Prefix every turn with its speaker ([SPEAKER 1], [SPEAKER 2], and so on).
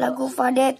[SPEAKER 1] Lagu Fadet